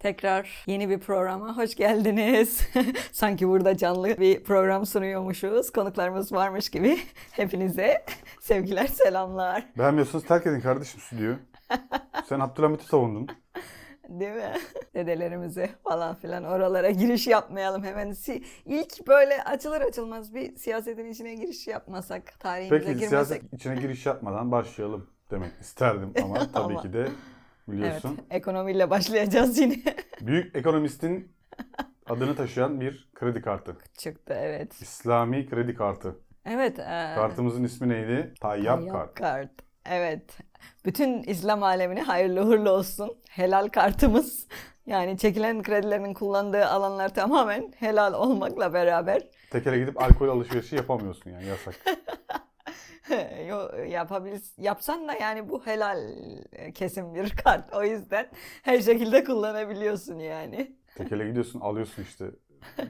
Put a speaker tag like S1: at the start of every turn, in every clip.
S1: Tekrar yeni bir programa hoş geldiniz. Sanki burada canlı bir program sunuyormuşuz. Konuklarımız varmış gibi. Hepinize sevgiler, selamlar.
S2: Beğenmiyorsanız terk edin kardeşim stüdyoyu. Sen Abdülhamit'i savundun.
S1: Değil mi? Dedelerimize falan filan oralara giriş yapmayalım hemen. Si- ilk böyle açılır açılmaz bir siyasetin içine giriş yapmasak, tarihimize
S2: Peki
S1: girmesek.
S2: siyaset içine giriş yapmadan başlayalım demek isterdim ama tabii
S1: Ama-
S2: ki de
S1: Evet,
S2: biliyorsun.
S1: ekonomiyle başlayacağız yine.
S2: Büyük ekonomistin adını taşıyan bir kredi kartı.
S1: Çıktı evet.
S2: İslami kredi kartı.
S1: Evet. e,
S2: Kartımızın ismi neydi? Tayyap
S1: Yap
S2: kart.
S1: kart. Evet. Bütün İslam alemine hayırlı uğurlu olsun. Helal kartımız. Yani çekilen kredilerin kullandığı alanlar tamamen helal olmakla beraber
S2: Tekele gidip alkol alışverişi yapamıyorsun yani yasak.
S1: yo- yapabil yapsan da yani bu helal e, kesim bir kart. O yüzden her şekilde kullanabiliyorsun yani.
S2: Tekele gidiyorsun alıyorsun işte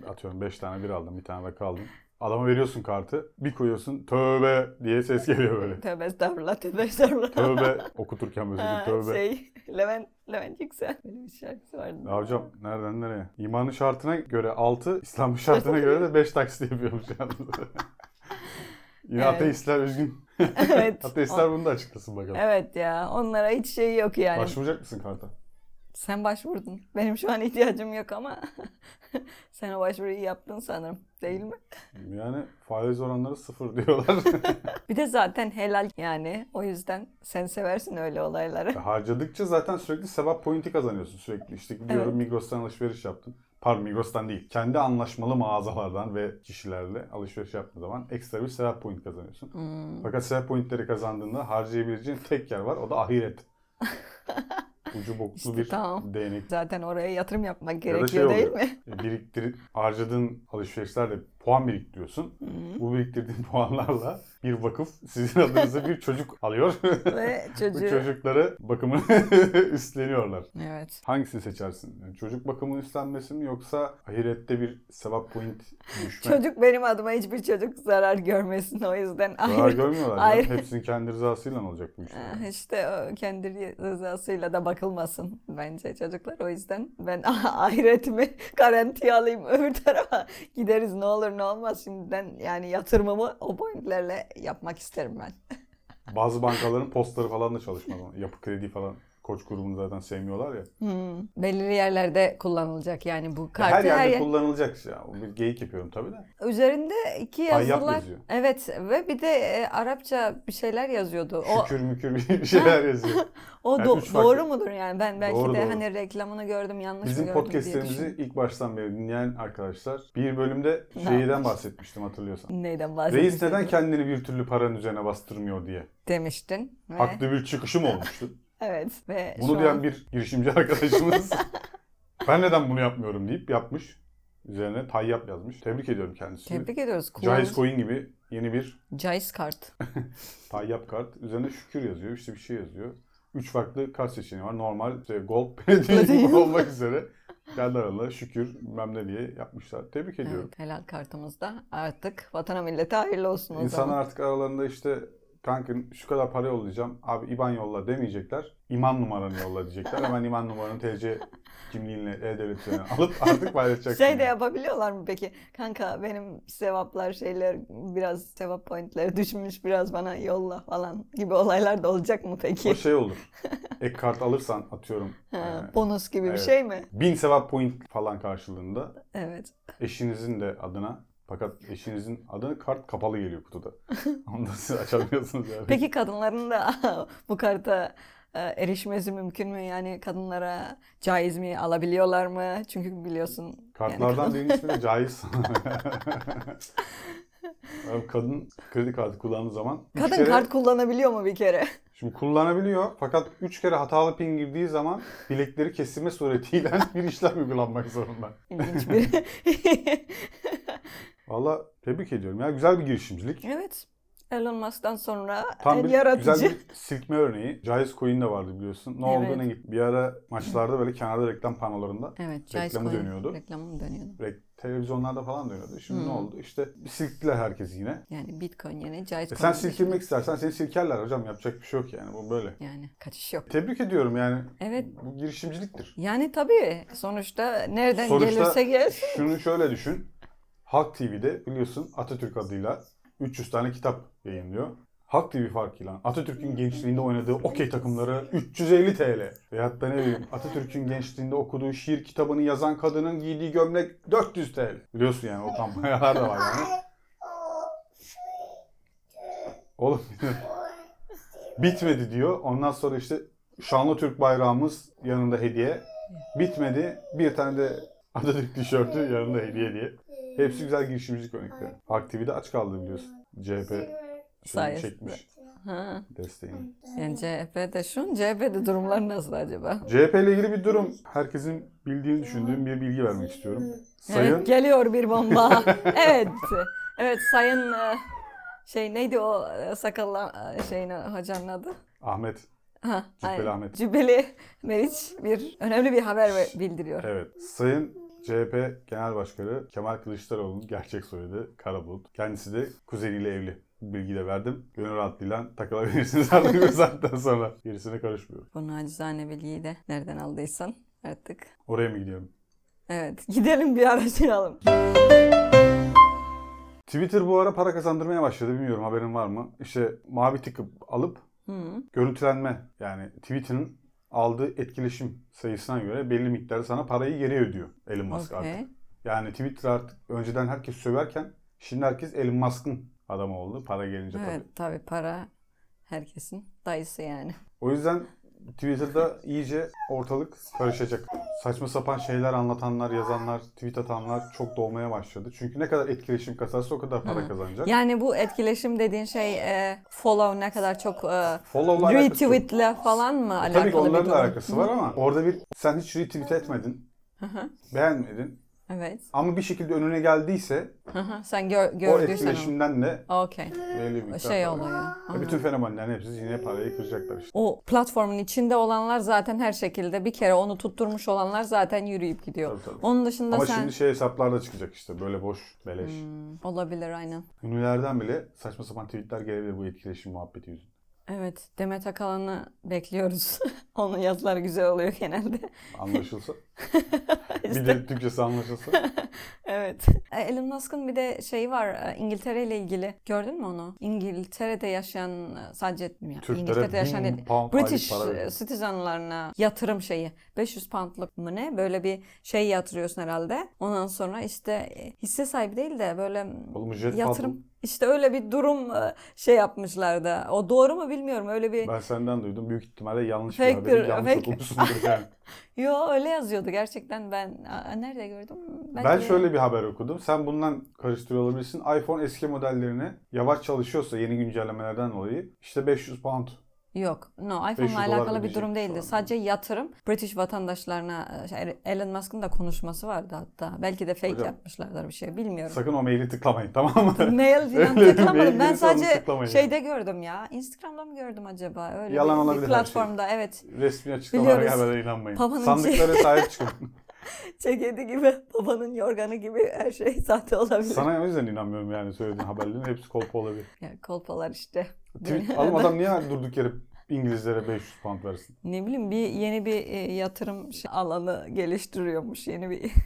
S2: atıyorum 5 tane bir aldım bir tane rakı aldım. Adama veriyorsun kartı bir koyuyorsun tövbe diye ses geliyor böyle.
S1: Tövbe estağfurullah, tövbe estağfurullah.
S2: Tövbe okuturken böyle
S1: Ha,
S2: sürekli tövbe.
S1: Şey, Levent, Levent Yüksel. Böyle bir şarkısı vardı.
S2: Ya hocam nereden nereye? İmanın şartına göre 6, İslam'ın şartına göre de 5 taksit yapıyormuş yalnız. Yine
S1: Evet.
S2: ateistler üzgün.
S1: evet.
S2: Ateistler bunu da açıklasın bakalım.
S1: Evet ya onlara hiç şey yok yani.
S2: Başvuracak mısın karta?
S1: Sen başvurdun. Benim şu an ihtiyacım yok ama sen o başvuruyu yaptın sanırım değil mi?
S2: Yani faiz oranları sıfır diyorlar.
S1: Bir de zaten helal yani o yüzden sen seversin öyle olayları.
S2: Harcadıkça zaten sürekli sevap pointi kazanıyorsun sürekli. İşte gidiyorum
S1: Evet.
S2: Migros'tan alışveriş yaptım. Pardon Migros'tan değil. Kendi anlaşmalı mağazalardan ve kişilerle alışveriş yaptığın zaman ekstra bir sevap point kazanıyorsun.
S1: Hmm.
S2: Fakat sevap pointleri kazandığında harcayabileceğin tek yer var. O da ahiret. Ucu boklu
S1: İşte
S2: bir
S1: tamam.
S2: değnek.
S1: Zaten oraya yatırım yapmak
S2: Ya da
S1: gerekiyor
S2: şey
S1: değil
S2: oluyor.
S1: mi?
S2: Biriktirip harcadığın alışverişlerle puan biriktiriyorsun.
S1: Hmm.
S2: Bu biriktirdiğin puanlarla bir vakıf sizin adınıza bir çocuk alıyor.
S1: Ve
S2: Bu
S1: çocuğu...
S2: çocukları bakımı üstleniyorlar.
S1: Evet.
S2: Hangisini seçersin? Yani çocuk bakımı üstlenmesi mi yoksa ahirette bir sevap point düşme?
S1: Çocuk benim adıma hiçbir çocuk zarar görmesin o yüzden
S2: Zarar
S1: ayrı.
S2: görmüyorlar.
S1: Ahiret-
S2: Ya. Hepsinin kendi rızasıyla olacak bu işler.
S1: Ah, İşte o kendi rızasıyla da bakılmasın bence çocuklar. O yüzden ben ahiretimi garantiye alayım öbür tarafa gideriz ne olur ne olmaz şimdiden yani yatırımımı o pointlerle yapmak isterim ben.
S2: Bazı bankaların postları falan da çalışmadan. Yapı kredi falan. Koç grubunu zaten sevmiyorlar ya.
S1: Hmm, belirli yerlerde kullanılacak yani bu kartı
S2: her
S1: her,
S2: yerde
S1: yer-
S2: kullanılacak ya. O bir geyik yapıyorum tabii de.
S1: Üzerinde iki
S2: Tayyap
S1: yazılar.
S2: yazıyor.
S1: Evet ve bir de e, Arapça bir şeyler yazıyordu. O
S2: Şükür mükür bir şeyler yazıyor.
S1: o
S2: Yani
S1: do-
S2: üç farklı-
S1: doğru mudur yani? Ben belki
S2: Doğru,
S1: de
S2: doğru.
S1: hani reklamını gördüm yanlış mı
S2: Bizim
S1: gördüm diye düşündüm.
S2: podcastlerimizi ilk baştan beri dinleyen arkadaşlar bir bölümde
S1: Ne
S2: şeyden
S1: yapmış?
S2: bahsetmiştim hatırlıyorsan.
S1: Neyden
S2: Reis
S1: bahsediyorsun?
S2: neden kendini bir türlü paranın üzerine bastırmıyor diye.
S1: demiştin. Ve,
S2: Haklı bir çıkışım olmuştu.
S1: Evet ve şu
S2: Bunu diyen
S1: an
S2: bir girişimci arkadaşımız ben neden bunu yapmıyorum deyip yapmış. Üzerine tayyap yazmış. Tebrik ediyorum kendisini.
S1: tebrik ediyoruz.
S2: Caiz
S1: Kullanıcı
S2: Coin gibi yeni bir
S1: Caiz kart.
S2: Tayyap kart. Üzerine şükür yazıyor. işte bir şey yazıyor. Üç farklı kart seçeneği var. Normal, işte gold, platin
S1: Platin.
S2: olmak üzere. Kendi aralarında şükür bilmem ne diye yapmışlar. Tebrik ediyorum.
S1: Evet, helal kartımızda artık vatana millete hayırlı olsun o
S2: İnsanlar
S1: zaman.
S2: artık aralarında işte kankin şu kadar para yollayacağım. Abi IBAN yolla demeyecekler. İman numaranı yolla diyecekler. Hemen iman numaranı TC kimliğinle E-Devlet üzerinden alıp artık paylaşacaksın.
S1: Şey de yapabiliyorlar mı peki? Kanka benim sevaplar şeyler biraz sevap pointleri düşmüş biraz bana yolla falan gibi olaylar da olacak mı
S2: O
S1: peki?
S2: şey olur. Ek kart alırsan atıyorum.
S1: Ha,
S2: e,
S1: bonus gibi
S2: Evet.
S1: bir şey mi?
S2: bin sevap point falan karşılığında
S1: Evet.
S2: eşinizin de adına fakat eşinizin adına kart kapalı geliyor kutuda. Onu da siz açamıyorsunuz yani.
S1: Peki kadınların da bu karta e, erişmesi mümkün mü? Yani kadınlara caiz mi alabiliyorlar mı? Çünkü biliyorsun yani
S2: Kartlardan birinin ismi de caiz. Abi kadın kredi kartı kullandığı zaman üç
S1: Kadın
S2: kere-
S1: kart kullanabiliyor mu bir kere?
S2: Şimdi kullanabiliyor fakat 3 kere hatalı pin girdiği zaman bilekleri kesilme suretiyle bir işlem uygulanmak zorunda.
S1: İlginç bir.
S2: Valla tebrik ediyorum ya güzel bir girişimcilik.
S1: evet. Elon Musk'tan sonra
S2: Tam
S1: en
S2: bir
S1: yaratıcı.
S2: güzel bir silkme örneği. Caiz Coin de vardı biliyorsun. Ne oldu
S1: Evet.
S2: ne gitti. Bir ara maçlarda böyle kenarda reklam panolarında
S1: Evet,
S2: Reklamı
S1: Joyce Coyne
S2: dönüyordu.
S1: Reklamı mı dönüyordu?
S2: re- televizyonlarda falan dönüyordu. Şimdi
S1: Hmm.
S2: ne oldu? İşte silktiler herkesi yine.
S1: Yani Bitcoin yerine Joyce
S2: E sen
S1: Coyne
S2: silkilmek istersen seni silkerler hocam. Yapacak bir şey yok yani. Bu böyle.
S1: Yani kaçış yok.
S2: Tebrik ediyorum yani.
S1: Evet.
S2: Bu girişimciliktir.
S1: Yani tabii sonuçta nereden
S2: Sonuçta-
S1: gelirse gelsin.
S2: Şunu şöyle düşün. Halk TV'de biliyorsun Atatürk adıyla 300 tane kitap yayınlıyor. Halk TV farkıyla Atatürk'ün gençliğinde oynadığı okey takımları 350 TL. Veyahut da ne bileyim Atatürk'ün gençliğinde okuduğu şiir kitabını yazan kadının giydiği gömlek 400 TL. Biliyorsun yani o kampanyalar da var yani. Oğlum bitmedi diyor. Ondan sonra işte şanlı Türk bayrağımız yanında hediye. Bitmedi. Bir tane de Atatürk tişörtü yanında hediye diye. Hepsi güzel girişimcilik örnekleri. Aktivide aç kaldı biliyorsun. CHP şeyini
S1: Sayesinde.
S2: çekmiş
S1: Ha.
S2: desteğini.
S1: Yani CHP'de şu, CHP'de durumlar nasıl acaba?
S2: CHP ile ilgili bir durum. Herkesin bildiğini düşündüğüm bir bilgi vermek istiyorum. Sayın
S1: Evet geliyor bir bomba. evet. Evet sayın e, şey neydi o e, sakallı e, şeyin e, hocanın adı?
S2: Ahmet.
S1: Ha,
S2: Cübbeli
S1: aynen.
S2: Ahmet.
S1: Cübbeli Meriç bir önemli bir haber ve- bildiriyor.
S2: Evet. Sayın CHP Genel Başkanı Kemal Kılıçdaroğlu'nun gerçek soyadı Karabulut. Kendisi de kuzeniyle evli. Bu bilgiyi de verdim. Gönül rahatlığıyla takılabilirsiniz artık bu saatten sonra. Gerisine karışmıyorum.
S1: Bunu acizane bilgiyi de nereden aldıysan artık.
S2: Oraya mı gidiyorum?
S1: Evet gidelim bir araştıralım.
S2: Twitter bu ara para kazandırmaya başladı. Bilmiyorum haberin var mı? İşte mavi tıkı alıp
S1: Hı.
S2: görüntülenme yani Twitter'ın aldığı etkileşim sayısına göre belli miktarı sana parayı geri ödüyor Elon Musk artık.
S1: Okey.
S2: Yani Twitter artık önceden herkes söverken şimdi herkes Elon Musk'ın adamı oldu para gelince tabii.
S1: Evet tabii para herkesin dayısı yani.
S2: O yüzden Twitter'da iyice ortalık karışacak. Saçma sapan şeyler anlatanlar, yazanlar, tweet atanlar çok dolmaya başladı. Çünkü ne kadar etkileşim kasarsa o kadar para
S1: Hı.
S2: kazanacak.
S1: Yani bu etkileşim dediğin şey e, follow ne kadar çok e,
S2: Follow'la alakası yok. E,
S1: retweetle falan mı alakalı
S2: Tabii ki
S1: bir
S2: onların
S1: durum?
S2: da alakası var ama orada bir sen hiç retweet etmedin,
S1: Hı hı.
S2: beğenmedin
S1: Evet.
S2: ama bir şekilde önüne geldiyse
S1: Hı hı. Sen gör,
S2: o
S1: gördüysen onu.
S2: etkileşimden de
S1: Okey.
S2: belli bir miktar
S1: Şey
S2: para.
S1: oluyor.
S2: Ya
S1: Aha.
S2: E, Bütün fenomenlerin hepsi yine parayı kıracaklar işte.
S1: O platformun içinde olanlar zaten her şekilde bir kere onu tutturmuş olanlar zaten yürüyüp gidiyor.
S2: Tabii, tabii.
S1: Onun dışında
S2: Ama
S1: sen
S2: şimdi şey hesaplar da çıkacak işte böyle boş beleş.
S1: Hmm, olabilir aynen.
S2: Ünlülerden bile saçma sapan tweetler gelebilir bu etkileşim muhabbeti yüzünden.
S1: Evet, Demet Akalan'ı bekliyoruz. Onun yazıları güzel oluyor genelde.
S2: Anlaşılsa. bir
S1: İşte,
S2: de Türkçesi anlaşılsa.
S1: evet. E, Elon Musk'ın bir de şeyi var e, İngiltere ile ilgili. Gördün mü onu? İngiltere'de yaşayan e, sadece ya,
S2: Türklere
S1: İngiltere'de yaşayan
S2: bin
S1: dedi-
S2: pound aylık
S1: British e,
S2: para veriyor.
S1: citizenlarına yatırım şeyi 500 poundluk mu ne böyle bir şey yatırıyorsun herhalde. Ondan sonra işte e, hisse sahibi değil de böyle m,
S2: Oğlum jet
S1: yatırım
S2: Yatırım.
S1: işte öyle bir durum e, şey yapmışlardı. O doğru mu bilmiyorum öyle bir
S2: Ben senden duydum. Büyük ihtimalle yanlış bir
S1: Fake'tir,
S2: haberi yanlış
S1: fake.
S2: okumuşsundur yani.
S1: yo öyle yazıyordu gerçekten ben Aa, nerede gördüm? Belki
S2: ben
S1: de-
S2: şöyle bir haber okudum. Sen bundan karıştırıyor olabilirsin. iPhone eski modellerine yavaş çalışıyorsa yeni güncellemelerden dolayı işte 500 pound.
S1: Yok. No,
S2: 500
S1: iPhone'la
S2: dolar
S1: alakalı bir
S2: ödeyecek
S1: durum
S2: şu
S1: değildi.
S2: anda.
S1: Sadece yatırım British vatandaşlarına e, şey, Elon Musk'ın da konuşması vardı hatta. Belki de fake
S2: Hocam,
S1: yapmışlardır bir şey bilmiyorum.
S2: Sakın o maili tıklamayın tamam mı?
S1: Mail falan
S2: Öyle bir mail
S1: tıklamadım. Ben
S2: gelirse onu
S1: sadece
S2: tıklamayın.
S1: şeyde gördüm ya. Instagram'da mı gördüm acaba? Öyle
S2: Yalan
S1: bir- bir,
S2: olabilir her şey.
S1: platformda evet.
S2: Resmi açıklamalara
S1: Biliyoruz.
S2: haberlere inanmayın.
S1: Papa'nın
S2: Sandıklara sahip çıkın.
S1: Ceketi gibi, babanın yorganı gibi her şey sahte olabilir.
S2: Sana o yüzden inanmıyorum yani söylediğin haberlerin hepsi kolpa olabilir.
S1: Ya, kolpalar işte.
S2: Tweet, oğlum adam niye her durduk yere İngilizlere 500 pound versin?
S1: Ne bileyim bir yeni bir e, yatırım şey- alanı geliştiriyormuş. Yeni bir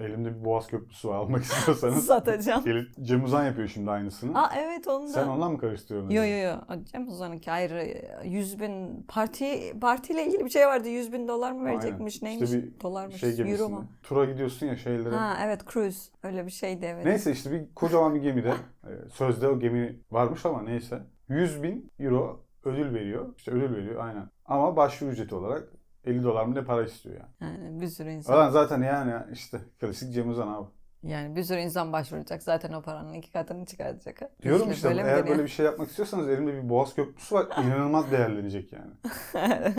S2: Elimde bir boğaz köprüsü var almak istiyorsanız.
S1: satacağım.
S2: Gelin Cem Uzan yapıyor şimdi aynısını.
S1: Aa evet onu da.
S2: Sen ondan mı karıştırıyorsun? Şey
S1: Yo yo yo. Cem Uzan'ınki ayrı. 100 bin parti partiyle ilgili bir şey vardı. 100 bin dolar mı
S2: Aynen.
S1: verecekmiş
S2: İşte
S1: neymiş?
S2: bir
S1: Dolarmış.
S2: Şey gemisine.
S1: Euro mu?
S2: Tura gidiyorsun ya şeylere.
S1: Ha evet cruise. Öyle bir şeydi evet.
S2: Neyse işte bir kocaman bir gemide. e, Sözde o gemi varmış ama neyse. 100 bin euro ödül veriyor. İşte ödül veriyor aynen. Ama başvuru ücreti olarak 50 dolar mı ne para istiyor yani.
S1: Yani bir sürü insan.
S2: Adam zaten yani işte klasik Cem Uzan abi.
S1: Yani bir sürü insan başvuracak. Zaten o paranın iki katını çıkaracak. ha.
S2: Diyorum
S1: İşte
S2: işte
S1: böyle mi
S2: eğer
S1: dönüyor?
S2: böyle bir şey yapmak istiyorsanız elimde bir boğaz köprüsü var. inanılmaz değerlenecek yani. şey-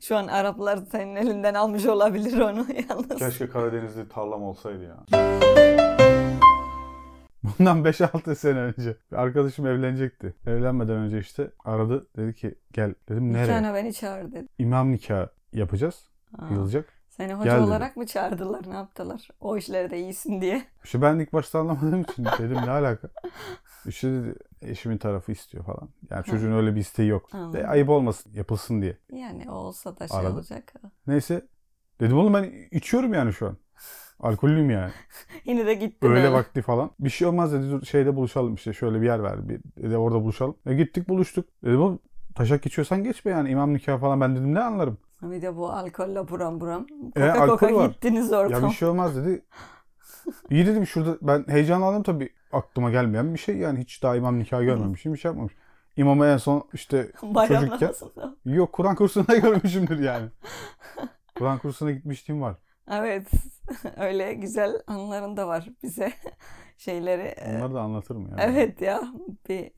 S1: Şu an Araplar senin elinden almış olabilir onu yalnız.
S2: Keşke Karadeniz'de tarlam olsaydı ya. Bundan 5-6 sene önce bir arkadaşım evlenecekti. Evlenmeden önce işte aradı. Dedi ki gel. Dedim nereye?
S1: Nikahına beni çağır dedi.
S2: İmam nikahı yapacağız.
S1: Aa,
S2: Yılacak.
S1: Seni hoca
S2: Gel dedi.
S1: olarak mı çağırdılar ne yaptılar? O işlere de iyisin diye.
S2: İşte ben ilk başta anlamadığım için dedim ne alaka? İşte dedi eşimin tarafı istiyor falan. Yani çocuğun öyle bir isteği yok.
S1: Anladım.
S2: De, ayıp olmasın yapılsın diye.
S1: Yani o olsa da şey
S2: Arada.
S1: olacak.
S2: Neyse. Dedim oğlum ben içiyorum yani şu an. Alkollüyüm yani.
S1: Yine de gittin.
S2: Öyle
S1: ha.
S2: vakti falan. Bir şey olmaz dedi. Dur şeyde buluşalım işte. Şöyle bir yer ver. Bir, dedi orada buluşalım. E gittik buluştuk. Dedim oğlum taşak geçiyorsan geçme yani. İmam nikahı falan ben dedim ne anlarım.
S1: Bir de bu alkolle buram buram.
S2: E,
S1: Koka koka
S2: alkol var.
S1: gittiniz
S2: Ya
S1: ortam.
S2: bir şey olmaz dedi. İyi dedim şurada ben heyecanlandım tabii. Aklıma gelmeyen bir şey yani. Hiç daha imam nikahı görmemişim. Bir şey yapmamışım. İmama en son işte
S1: Bayram
S2: çocukken-
S1: namazında.
S2: yok Kur'an kursuna görmüşümdür yani. Kur'an kursuna gitmişliğim var.
S1: Evet. Öyle güzel anların da var bize. Şeyleri. e,
S2: Onları da anlatırım yani.
S1: Evet ya. Bir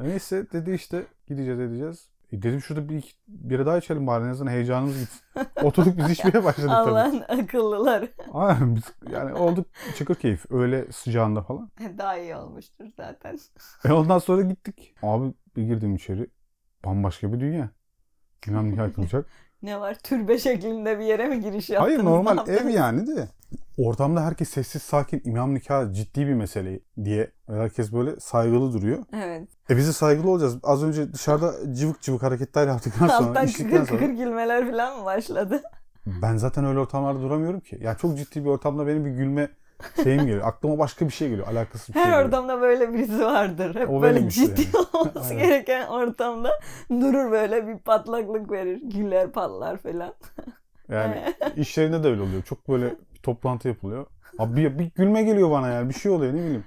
S2: Neyse dedi işte gideceğiz edeceğiz. E dedim şurada bir iki, biri daha içelim bari en azından heyecanımız gitsin. Oturduk biz içmeye başladık tabii.
S1: Allah'ın akıllıları
S2: Aynen, biz, yani olduk çıkır keyif öyle sıcağında falan.
S1: daha iyi olmuştur zaten.
S2: E ondan sonra gittik. Abi bir girdim içeri bambaşka bir dünya. Bilmem nikah kılacak.
S1: Ne var türbe şeklinde bir yere mi giriş yaptınız?
S2: Hayır
S1: ne
S2: normal
S1: yaptınız?
S2: ev yani de. Ortamda herkes sessiz sakin imam nikahı ciddi bir mesele diye herkes böyle saygılı duruyor.
S1: Evet.
S2: E biz de saygılı olacağız. Az önce dışarıda cıvık cıvık hareketler yaptıktan sonra
S1: Alttan
S2: içtikten
S1: kıkır
S2: sonra.
S1: kıkır gülmeler falan mı başladı?
S2: Ben zaten öyle ortamlarda duramıyorum ki. Ya çok ciddi bir ortamda benim bir gülme şeyim geliyor. Aklıma başka bir şey geliyor. Alakasız bir şey
S1: Her
S2: geliyor.
S1: ortamda böyle birisi vardır. Hep
S2: O benim
S1: böyle
S2: işte
S1: ciddi olması
S2: Aynen.
S1: gereken ortamda durur böyle bir patlaklık verir. Güller patlar falan.
S2: Yani iş yerinde de öyle oluyor. Çok böyle bir toplantı yapılıyor. Abi bir, bir gülme geliyor bana yani. Bir şey oluyor ne bileyim.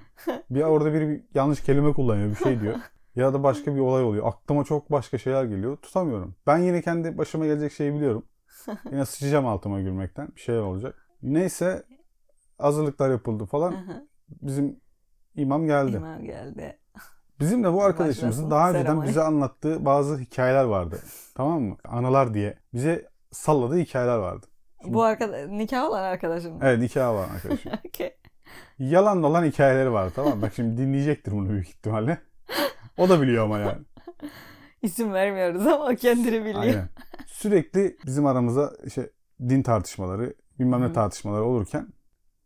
S2: Bir orada biri bir yanlış kelime kullanıyor. Bir şey diyor. Ya da başka bir olay oluyor. Aklıma çok başka şeyler geliyor. Tutamıyorum. Ben yine kendi başıma gelecek şeyi biliyorum. Yine sıçacağım altıma gülmekten. Bir şeyler olacak. Neyse hazırlıklar yapıldı falan.
S1: Aha,
S2: Bizim imam geldi.
S1: İmam geldi.
S2: Bizim de bu
S1: Başlasın
S2: arkadaşımızın daha önceden
S1: seremoni.
S2: bize anlattığı bazı hikayeler vardı. tamam mı? Analar diye. Bize salladığı hikayeler vardı. Şimdi-
S1: Bu arkadaş, nikah olan arkadaşım.
S2: Evet hikaye var arkadaşım.
S1: Okey.
S2: Yalan dolan hikayeleri var tamam mı? Bak şimdi dinleyecektir bunu büyük ihtimalle. O da biliyor ama yani.
S1: İsim vermiyoruz ama o kendini biliyor.
S2: Aynen. Sürekli bizim aramıza işte din tartışmaları, bilmem ne
S1: Hı.
S2: tartışmaları olurken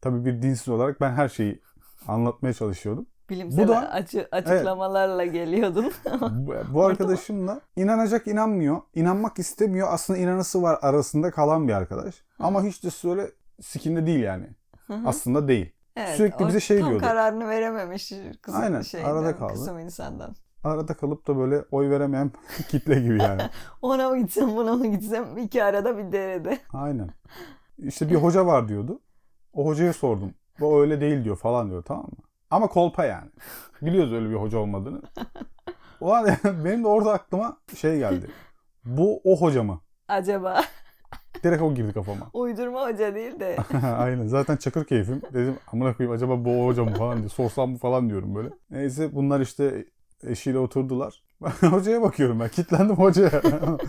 S2: tabii bir dinsiz olarak ben her şeyi anlatmaya çalışıyordum.
S1: Bilimsel
S2: Bu da-
S1: açı- açıklamalarla geliyordun.
S2: Bu, bu arkadaşımla inanacak inanmıyor, inanmak istemiyor. Aslında inanısı var arasında kalan bir arkadaş. Ama hiç de öyle sikinde değil yani. Aslında değil.
S1: Evet,
S2: sürekli
S1: o
S2: bize şey
S1: tam
S2: diyordu.
S1: kararını verememiş kızım
S2: Aynen,
S1: şeyden,
S2: arada kaldı.
S1: kızım insandan.
S2: Arada kalıp da böyle oy veremeyen kitle gibi yani.
S1: Ona mı gitsem buna mı gitsem iki arada bir derede.
S2: Aynen. İşte bir hoca var diyordu. O hocaya sordum. Bu öyle değil diyor falan diyor tamam mı? Ama kolpa yani. Biliyoruz öyle bir hoca olmadığını. Ulan benim de orada aklıma şey geldi. Bu o hoca mı?
S1: Acaba
S2: Direkt o girdi kafama.
S1: uydurma hoca değil de
S2: Aynen. Zaten çakır keyfim. Dedim amına koyayım acaba bu o hoca mı falan diye. Sorsam mı falan diyorum böyle. Neyse bunlar işte eşiyle oturdular. Ben hocaya bakıyorum ben. Kitlendim hocaya.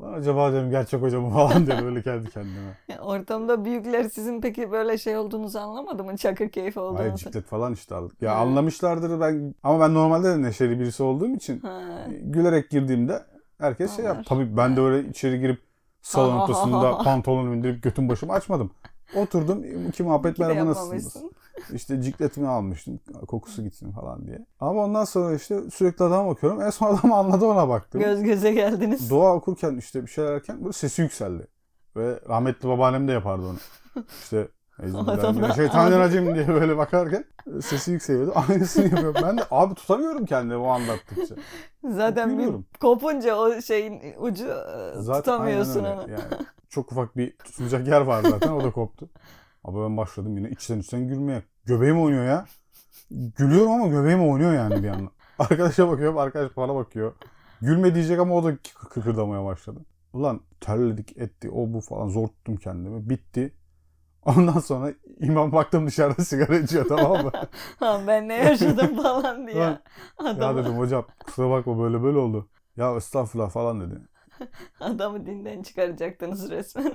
S2: Lan acaba dedim gerçek hoca mı falan diye böyle kendi kendime.
S1: ortamda büyükler sizin peki böyle şey olduğunuzu anlamadı mı? Çakır keyfi
S2: Hayır
S1: olduğunuzu.
S2: ciklet falan işte aldık. Ya
S1: Ha.
S2: anlamışlardır ben ama ben normalde de neşeli birisi olduğum için
S1: Ha.
S2: gülerek girdiğimde herkes şey yap.
S1: Anlar.
S2: Tabii ben de öyle içeri girip salon ortasında pantolonumu indirip götüm başımı açmadım. Oturdum iki muhabbet
S1: İyi ki de
S2: merhaba nasılsınız?
S1: yapmamışsın.
S2: İşte cikletimi almıştım kokusu gitsin falan diye. Ama ondan sonra işte sürekli adama bakıyorum. En son adam anladı ona baktım.
S1: Göz göze geldiniz.
S2: Dua okurken işte bir şeyler erken böyle sesi yükseldi. Ve rahmetli babaannem de yapardı onu. İşte
S1: Adam da-
S2: şeytanın acım diye böyle bakarken e, sesi yükseliyordu. Aynısını yapıyorum. Ben de abi tutamıyorum kendimi o anlattıkça.
S1: Zaten bir
S2: Gülüyorum.
S1: kopunca o şeyin ucu e, tutamıyorsun
S2: aynen
S1: onu.
S2: öyle. Yani çok ufak bir tutulacak yer var zaten o da koptu. Abi ben başladım yine içten içten gülmeye. Göbeğim oynuyor ya. Gülüyorum ama göbeğim oynuyor yani bir yandan. Arkadaşa bakıyorum arkadaş bana bakıyor. Gülme diyecek ama o da kı- kıkırdamaya başladı. Ulan terledik etti o bu falan zor tuttum kendimi. Bitti. Ondan sonra imam baktım dışarıda sigara içiyor tamam mı?
S1: Ha, ben ne yaşadım falan diye.
S2: Ulan, ya
S1: Adamı,
S2: dedim hocam kusura bakma böyle böyle oldu. Ya estağfurullah falan dedi.
S1: adamı dinden çıkaracaktınız resmen.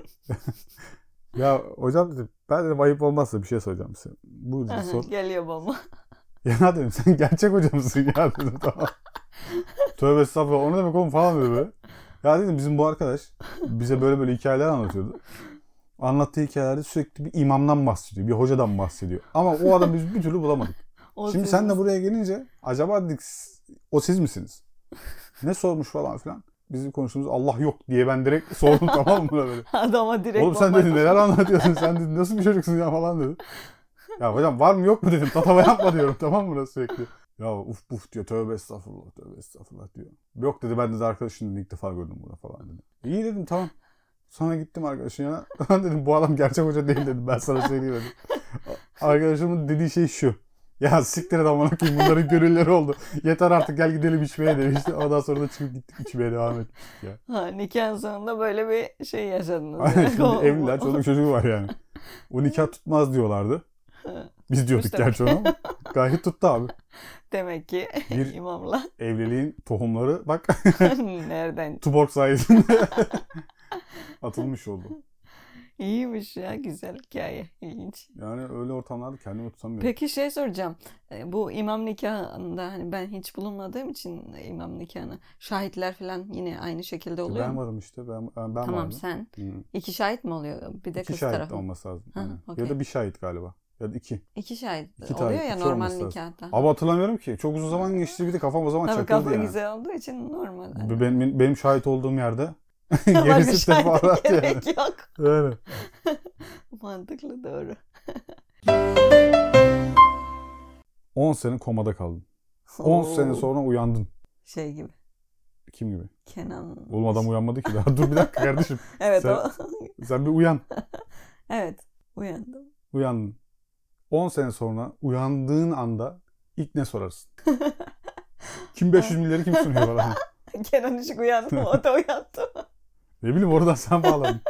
S2: Ya hocam dedim ben dedim ayıp olmazsa bir şey soracağım size. Buyur dedi,
S1: Aha,
S2: sor.
S1: Geliyor baba.
S2: Ya dedim sen gerçek hoca mısın ya dedim tamam. Tövbe estağfurullah o ne demek oğlum falan dedi böyle. Ya dedim bizim bu arkadaş bize böyle böyle hikayeler anlatıyordu. Anlattığı hikayelerde sürekli bir imamdan bahsediyor, bir hocadan bahsediyor. Ama o adamı biz bir türlü bulamadık.
S1: O
S2: Şimdi
S1: siz-
S2: sen de buraya gelince acaba dedik "S- o siz misiniz? Ne sormuş falan filan. Bizim konuştuğumuz Allah yok diye ben direkt sordum tamam mı böyle.
S1: adama direkt
S2: Oğlum sen
S1: bomba-
S2: dedi neler anlatıyorsun sen dedi nasıl bir çocuksun ya falan dedi. Ya hocam var mı yok mu dedim tatava yapma diyorum tamam mı burası sürekli. Ya uf puf diyor tövbe estağfurullah tövbe estağfurullah diyor. Yok dedi ben dedi arkadaşını ilk defa gördüm burada falan dedi. İyi dedim tamam. Sonra gittim arkadaşın yanına. Lan dedim bu adam gerçek hoca değil dedim ben sana söyleyeyim dedim. Arkadaşımın dediği şey şu. Ya siktir et amına koyayım bunların gönülleri oldu. Yeter artık gel gidelim içmeye demişti. Ondan sonra da çıkıp gittik içmeye devam ettik.
S1: Ha, nikahın sonunda böyle bir şey yaşadınız.
S2: Aynen
S1: yani.
S2: şimdi
S1: O-
S2: evliler
S1: o-
S2: çoluk çocuğu var yani. O nikah tutmaz diyorlardı. Biz diyorduk
S1: Tutmuş
S2: gerçi ona ama gayet tuttu abi.
S1: Demek ki
S2: Bir
S1: imamla
S2: evliliğin tohumları bak
S1: nereden?
S2: Tuborg sayesinde atılmış oldu.
S1: İyiymiş ya güzel hikaye. İlginç.
S2: Yani öyle ortamlarda kendimi tutamıyorum.
S1: Peki şey soracağım. E, Bu imam nikahında hani ben hiç bulunmadığım için imam nikahına şahitler falan yine aynı şekilde oluyor
S2: E, ben
S1: mu?
S2: varım işte. Ben, ben
S1: Tamam
S2: vardım.
S1: sen.
S2: Hı.
S1: İki şahit mi oluyor? Bir de
S2: İki
S1: kız
S2: şahit
S1: tarafı.
S2: olması lazım.
S1: Ha,
S2: Aynen.
S1: okey.
S2: Ya da bir şahit galiba. Ya da iki.
S1: İki şahit
S2: İki
S1: oluyor
S2: tarih,
S1: ya
S2: iki
S1: normal
S2: olması lazım.
S1: nikahta.
S2: Ama hatırlamıyorum ki. Çok uzun zaman geçti bir de kafam o zaman
S1: Tabii
S2: çakıldı
S1: kafa
S2: yani.
S1: güzel olduğu için normal. hani.
S2: Benim, benim şahit olduğum yerde
S1: Başka
S2: gerisi
S1: şahide
S2: teferruat yani.
S1: gerek yok.
S2: Aynen.
S1: Mantıklı doğru.
S2: 10 sene komada kaldın. 10 sene
S1: Oo.
S2: sonra uyandın.
S1: Şey gibi.
S2: Kim gibi?
S1: Kenan.
S2: Oğlum adam uyanmadı ki daha. Dur bir dakika kardeşim.
S1: Evet
S2: Sen-
S1: o.
S2: Sen bir uyan.
S1: evet. Uyandım.
S2: Uyandın. 10 sene sonra uyandığın anda ilk ne sorarsın? Kim 500 milyarı kim sunuyor bana?
S1: Kenan Işık uyandı mı? O da uyandı mı?
S2: Ne bileyim oradan sen bağladın.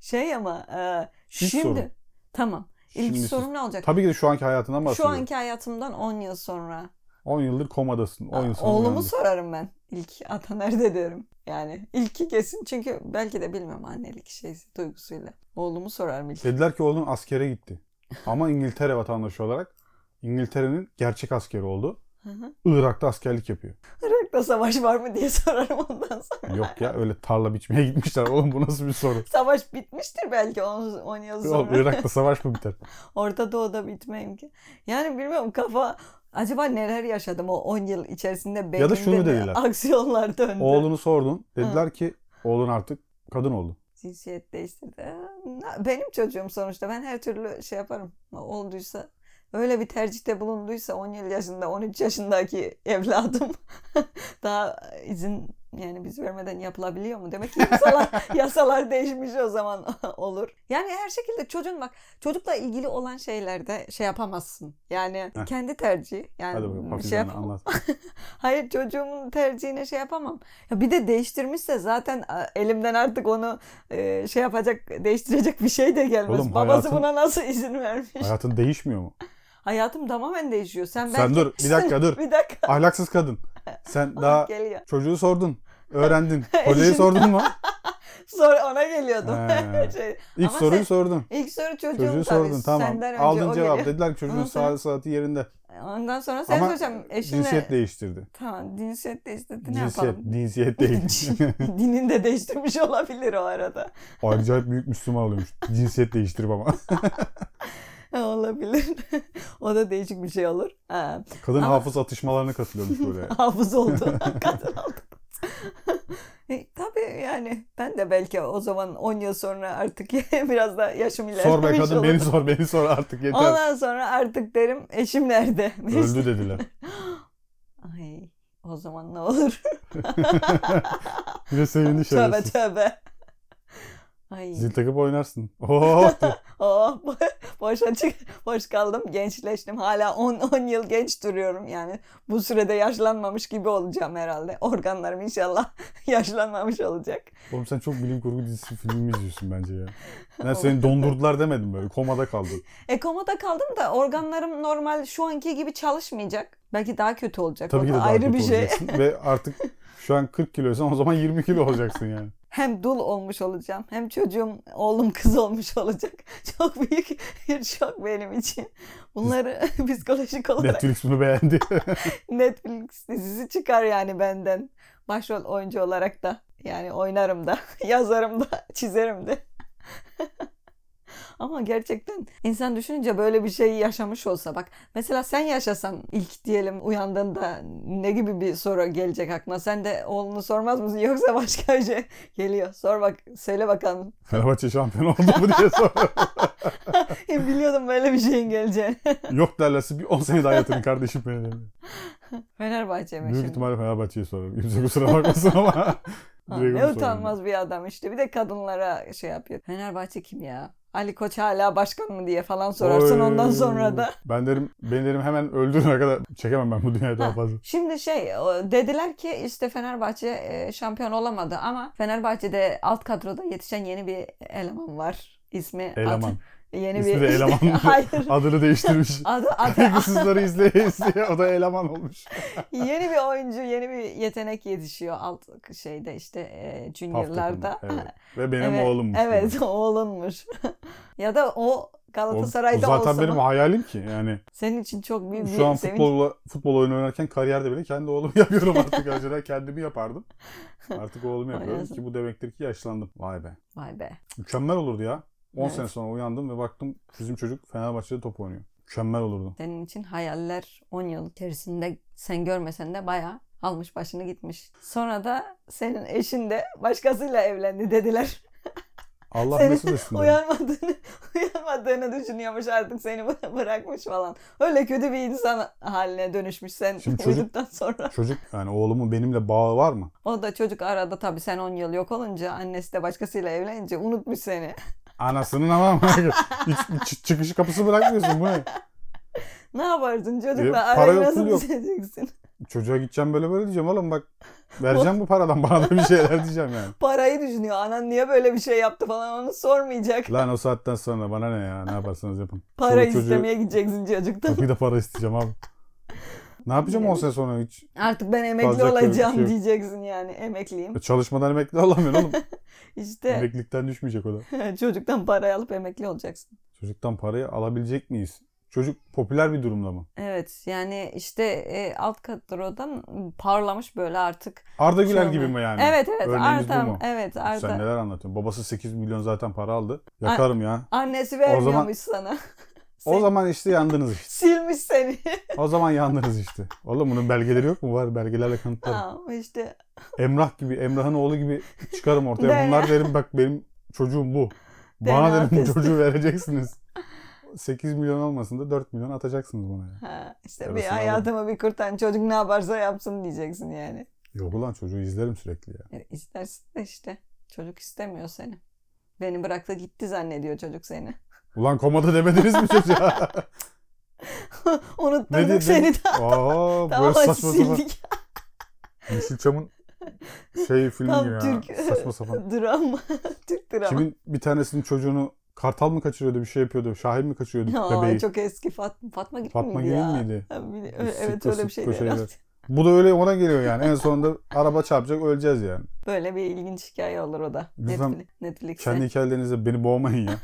S1: Şey ama e,
S2: İlk
S1: şimdi.
S2: sorum.
S1: Tamam. İlk
S2: Şimdi
S1: sorum ne olacak?
S2: Tabii ki de şu anki hayatından
S1: Şu
S2: bahsediyorum.
S1: anki hayatımdan 10 yıl sonra. e,
S2: 10 yıldır komadasın. 10 yıl sonra
S1: Oğlumu
S2: uyandın.
S1: sorarım ben. İlk ata nerede diyorum. Yani ilki kesin çünkü belki de bilmem annelik şeysi duygusuyla. Oğlumu sorarım ilk.
S2: Dediler ki oğlun askere gitti. Ama İngiltere vatandaşı olarak İngiltere'nin gerçek askeri oldu.
S1: Hı hı.
S2: Irak'ta askerlik yapıyor.
S1: Irak'ta savaş var mı diye sorarım ondan sonra.
S2: Yok ya öyle tarla biçmeye gitmişler. Oğlum bu nasıl bir soru?
S1: Savaş bitmiştir belki 10 yıl
S2: Oğlum
S1: sonra.
S2: Irak'ta savaş mı biter?
S1: Orta Doğu'da bitme imkanı. Yani bilmiyorum kafa acaba neler yaşadım o 10 yıl içerisinde beynimde
S2: Ya da şunu
S1: ne
S2: dediler.
S1: aksiyonlar döndü.
S2: Oğlunu sordun. Dediler ki oğlun artık kadın oldu.
S1: Cinsiyet değiştirdi. Ee, na- Benim çocuğum sonuçta ben her türlü şey yaparım. Olduysa öyle bir tercihte bulunduysa 10 yıl yaşında 13 yaşındaki evladım daha izin yani biz vermeden yapılabiliyor mu? Demek ki yasalar, yasalar değişmiş o zaman olur. Yani her şekilde çocuğun bak çocukla ilgili olan şeylerde şey yapamazsın. Yani
S2: Heh.
S1: kendi tercihi. Yani
S2: Hadi bakalım
S1: bir
S2: Hafize
S1: şey
S2: Hanım
S1: yapamam.
S2: anlat.
S1: Hayır çocuğumun tercihine şey yapamam. Ya bir de değiştirmişse zaten a, elimden artık onu e, şey yapacak, değiştirecek bir şey de gelmez.
S2: Oğlum,
S1: Babası
S2: hayatın-
S1: buna nasıl izin vermiş?
S2: Hayatın değişmiyor mu?
S1: Hayatım tamamen değişiyor. Sen
S2: Sen
S1: belki...
S2: dur, bir dakika, dur.
S1: bir dakika.
S2: Ahlaksız kadın. Sen daha
S1: Geliyor.
S2: çocuğu sordun. Öğrendin. Hocayı sordun mu?
S1: Sonra ona geliyordum.
S2: He.
S1: Şey,
S2: İlk
S1: ama
S2: soruyu
S1: sen-
S2: sordun.
S1: İlk soru çocuğum
S2: Çocuğu
S1: tabii.
S2: sordun tamam.
S1: Senden önce
S2: Aldın
S1: o
S2: cevap.
S1: geliyor.
S2: Dediler ki çocuğun
S1: Ondan sonra-
S2: sağlığı saati yerinde.
S1: Ondan sonra sen
S2: Ama
S1: soracağım eşine.
S2: Cinsiyet değiştirdi.
S1: Tamam cinsiyet değiştirdi E ne
S2: Cinsiyet,
S1: yapalım?
S2: cinsiyet değişti.
S1: Dinini de değiştirmiş olabilir o arada.
S2: Acayip büyük Müslüman oluyormuş. Cinsiyet değiştirip ama.
S1: Olabilir. o da değişik bir şey olur. Ha,
S2: Kadın
S1: Ama-
S2: hafız atışmalarına katılıyormuş böyle.
S1: hafız oldu. Kadın oldu. E, tabii yani ben de belki o zaman 10 yıl sonra artık biraz da yaşım ilerlemiş
S2: sor be kadın
S1: olur.
S2: beni sor beni sor artık yeter.
S1: Ondan sonra artık derim eşim nerede?
S2: Öldü dediler.
S1: Ay o zaman ne olur?
S2: Bir de sevindi
S1: tövbe
S2: şerefsiz.
S1: tövbe. Ay.
S2: Zil takıp oynarsın. Oo,
S1: Oh, boşa çık, boş kaldım. Gençleştim. Hala 10 10 yıl genç duruyorum. Yani bu sürede yaşlanmamış gibi olacağım herhalde. Organlarım inşallah yaşlanmamış olacak.
S2: Oğlum sen çok bilim kurgu dizisi filmi izliyorsun bence ya. Ben seni dondurdular demedim böyle. Komada kaldın.
S1: E komada kaldım da organlarım normal şu anki gibi çalışmayacak. Belki daha kötü olacak.
S2: Tabii
S1: O
S2: ki de
S1: da
S2: daha
S1: ayrı
S2: kötü
S1: bir şey.
S2: olacaksın. Ve artık şu an 40 kiloysan o zaman 20 kilo olacaksın yani.
S1: hem dul olmuş olacağım hem çocuğum oğlum kız olmuş olacak. Çok büyük bir şok benim için. Bunları psikolojik olarak
S2: Netflix bunu beğendi.
S1: Netflix dizisi çıkar yani benden. Başrol oyuncu olarak da yani oynarım da, yazarım da, çizerim de. Ama gerçekten insan düşününce böyle bir şey yaşamış olsa bak mesela sen yaşasan ilk diyelim uyandığında ne gibi bir soru gelecek aklına? Sen de oğlunu sormaz mısın yoksa başka bir şey geliyor. Sor bak söyle bakalım.
S2: Fenerbahçe şampiyon oldu mu diye sor.
S1: Biliyordum böyle bir şeyin geleceğini.
S2: Yok derlerse bir 10 sene daha yatırın kardeşim beni derim.
S1: Fenerbahçe mi
S2: Büyük
S1: şimdi?
S2: ihtimalle Fenerbahçe'yi sorarım. Kimse kusura bakmasın ama.
S1: Ha,
S2: Direkt onu
S1: ne
S2: sorarım.
S1: utanmaz bir adam işte. Bir de kadınlara şey yapıyor. Fenerbahçe kim ya? Ali Koç hala başkan mı diye falan sorarsın
S2: Oy.
S1: ondan sonra da.
S2: Ben derim, beni derim hemen öldürene kadar çekemem ben bu dünyayı daha
S1: Ha.
S2: fazla.
S1: Şimdi şey o- dediler ki işte Fenerbahçe e, şampiyon olamadı ama Fenerbahçe'de alt kadroda yetişen yeni bir eleman var. İsmi
S2: Eleman.
S1: adı- yeni
S2: İsmi
S1: bir
S2: de eleman.
S1: Hayır.
S2: Adını değiştirmiş.
S1: Adı, adı,
S2: Saygısızları izleye izleye o da eleman olmuş.
S1: yeni bir oyuncu, yeni bir yetenek yetişiyor alt şeyde işte e,
S2: Hafta
S1: juniorlarda.
S2: konu, Evet. Ve benim
S1: evet,
S2: oğlummuş.
S1: Evet, oğlunmuş. ya da o
S2: O-
S1: Galatasaray'da
S2: o zaten
S1: olsa
S2: benim
S1: mı?
S2: hayalim ki yani.
S1: Senin için çok büyük bir
S2: Şu an
S1: sevinç.
S2: futbolla, futbol oyunu oynarken kariyerde bile kendi oğlumu yapıyorum artık. Önceden kendimi yapardım. Artık oğlumu yapıyorum
S1: Oynasın.
S2: ki bu demektir ki yaşlandım. Vay be.
S1: Vay be.
S2: Mükemmel olurdu ya. 10
S1: Evet.
S2: sene sonra uyandım ve baktım bizim çocuk Fenerbahçe'de top oynuyor. Mükemmel olurdu.
S1: Senin için hayaller 10 yıl içerisinde sen görmesen de bayağı almış başını gitmiş. Sonra da senin eşin de başkasıyla evlendi dediler.
S2: Allah
S1: Seni
S2: mesut etsin. derim.
S1: Uyanmadığını, uyanmadığını düşünüyormuş artık seni bı- bırakmış falan. Öyle kötü bir insan haline dönüşmüş sen
S2: Şimdi çocuk-
S1: uyuduktan sonra.
S2: Çocuk yani oğlumun benimle bağı var mı?
S1: O da çocuk arada tabii sen 10 yıl yok olunca annesi de başkasıyla evlenince unutmuş seni.
S2: Anasının ama hiç hiç çıkış kapısı bırakmıyorsun bu ne?
S1: Ne yaparsın
S2: E,
S1: çocukla
S2: para
S1: arayı
S2: yok,
S1: nasıl
S2: pul yok.
S1: düzeleceksin?
S2: Çocuğa gideceğim böyle böyle diyeceğim oğlum bak vereceğim bu paradan bana da bir şeyler diyeceğim yani.
S1: Parayı düşünüyor. Anan niye böyle bir şey yaptı falan onu sormayacak.
S2: Lan o saatten sonra bana ne ya ne yaparsanız yapın.
S1: Para
S2: çocuğu-
S1: istemeye gideceksin çocuktan.
S2: Tabii de para isteyeceğim abi. Ne yapacağım 10 sene sonra hiç?
S1: Artık ben emekli
S2: Kalacak böyle bir
S1: olacağım
S2: şey yok.
S1: diyeceksin yani emekliyim.
S2: E, Çalışmadan emekli olamıyorsun oğlum.
S1: İşte
S2: Emeklilikten düşmeyecek o da.
S1: çocuktan parayı alıp emekli olacaksın.
S2: Çocuktan parayı alabilecek miyiz? Çocuk popüler bir durumda mı?
S1: Evet yani işte e, alt kadrodan parlamış böyle artık.
S2: Arda Güler
S1: Şey
S2: gibi
S1: olmuyor.
S2: mi yani?
S1: evet evet
S2: örneğimiz bu
S1: Arda.
S2: mu?
S1: Evet Arda.
S2: Sen neler anlatıyorsun? Babası 8 milyon zaten para aldı. Yakarım ya.
S1: Annesi vermiyormuş sana.
S2: O
S1: Sil-
S2: zaman işte yandınız işte.
S1: Silmiş seni.
S2: O zaman yandınız işte. Oğlum bunun belgeleri yok mu? Var belgelerle kanıtlarım.
S1: Ama işte
S2: Emrah gibi, Emrah'ın oğlu gibi çıkarım
S1: De.
S2: ortaya. Bunlar derim bak benim çocuğum bu.
S1: DNA
S2: Bana derim bu
S1: testi.
S2: çocuğu vereceksiniz. 8 milyon olmasın da 4 milyon atacaksınız bana ya.
S1: ha, işte bir
S2: Yarasını aldım.
S1: hayatımı bir kurtan çocuk ne yaparsa yapsın diyeceksin yani.
S2: Yok ulan çocuğu izlerim sürekli ya.
S1: E, İstersin de işte çocuk istemiyor seni. Beni bıraktı gitti zannediyor çocuk seni.
S2: Ulan komada demediniz mi çocuğa?
S1: Unutturduk
S2: dedi?
S1: seni de.
S2: Aa
S1: Tamam
S2: böyle saçma sapan.
S1: sildik.
S2: Yeşilçam'ın şey filmi
S1: Tam
S2: gibi ya.
S1: Türk-
S2: Saçma sapan.
S1: Drama. Türk drama.
S2: Kimin bir tanesinin çocuğunu kartal mı kaçırıyordu bir şey yapıyordu. Şahin mi kaçırıyordu
S1: Aa,
S2: bebeği?
S1: çok eski Fat Fatma gibi
S2: Fatma
S1: miydi
S2: gibi
S1: ya?
S2: miydi?
S1: Ha, bili-
S2: Sıkkı
S1: Evet öyle bir şey
S2: sıkkı
S1: şeydi
S2: şeyler.
S1: herhalde.
S2: Bu da öyle ona geliyor yani. En sonunda araba çarpacak öleceğiz yani.
S1: Böyle bir ilginç hikaye olur o da.
S2: Lütfen
S1: Netflix, Netflix'e.
S2: Kendi hikayelerinizle beni boğmayın ya.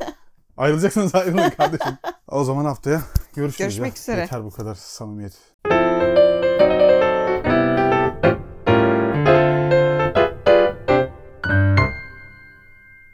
S2: Ayrılacaksanız ayrılın kardeşim. O zaman haftaya görüşürüz.
S1: Görüşmek
S2: ya.
S1: üzere.
S2: Yeter bu kadar samimiyet.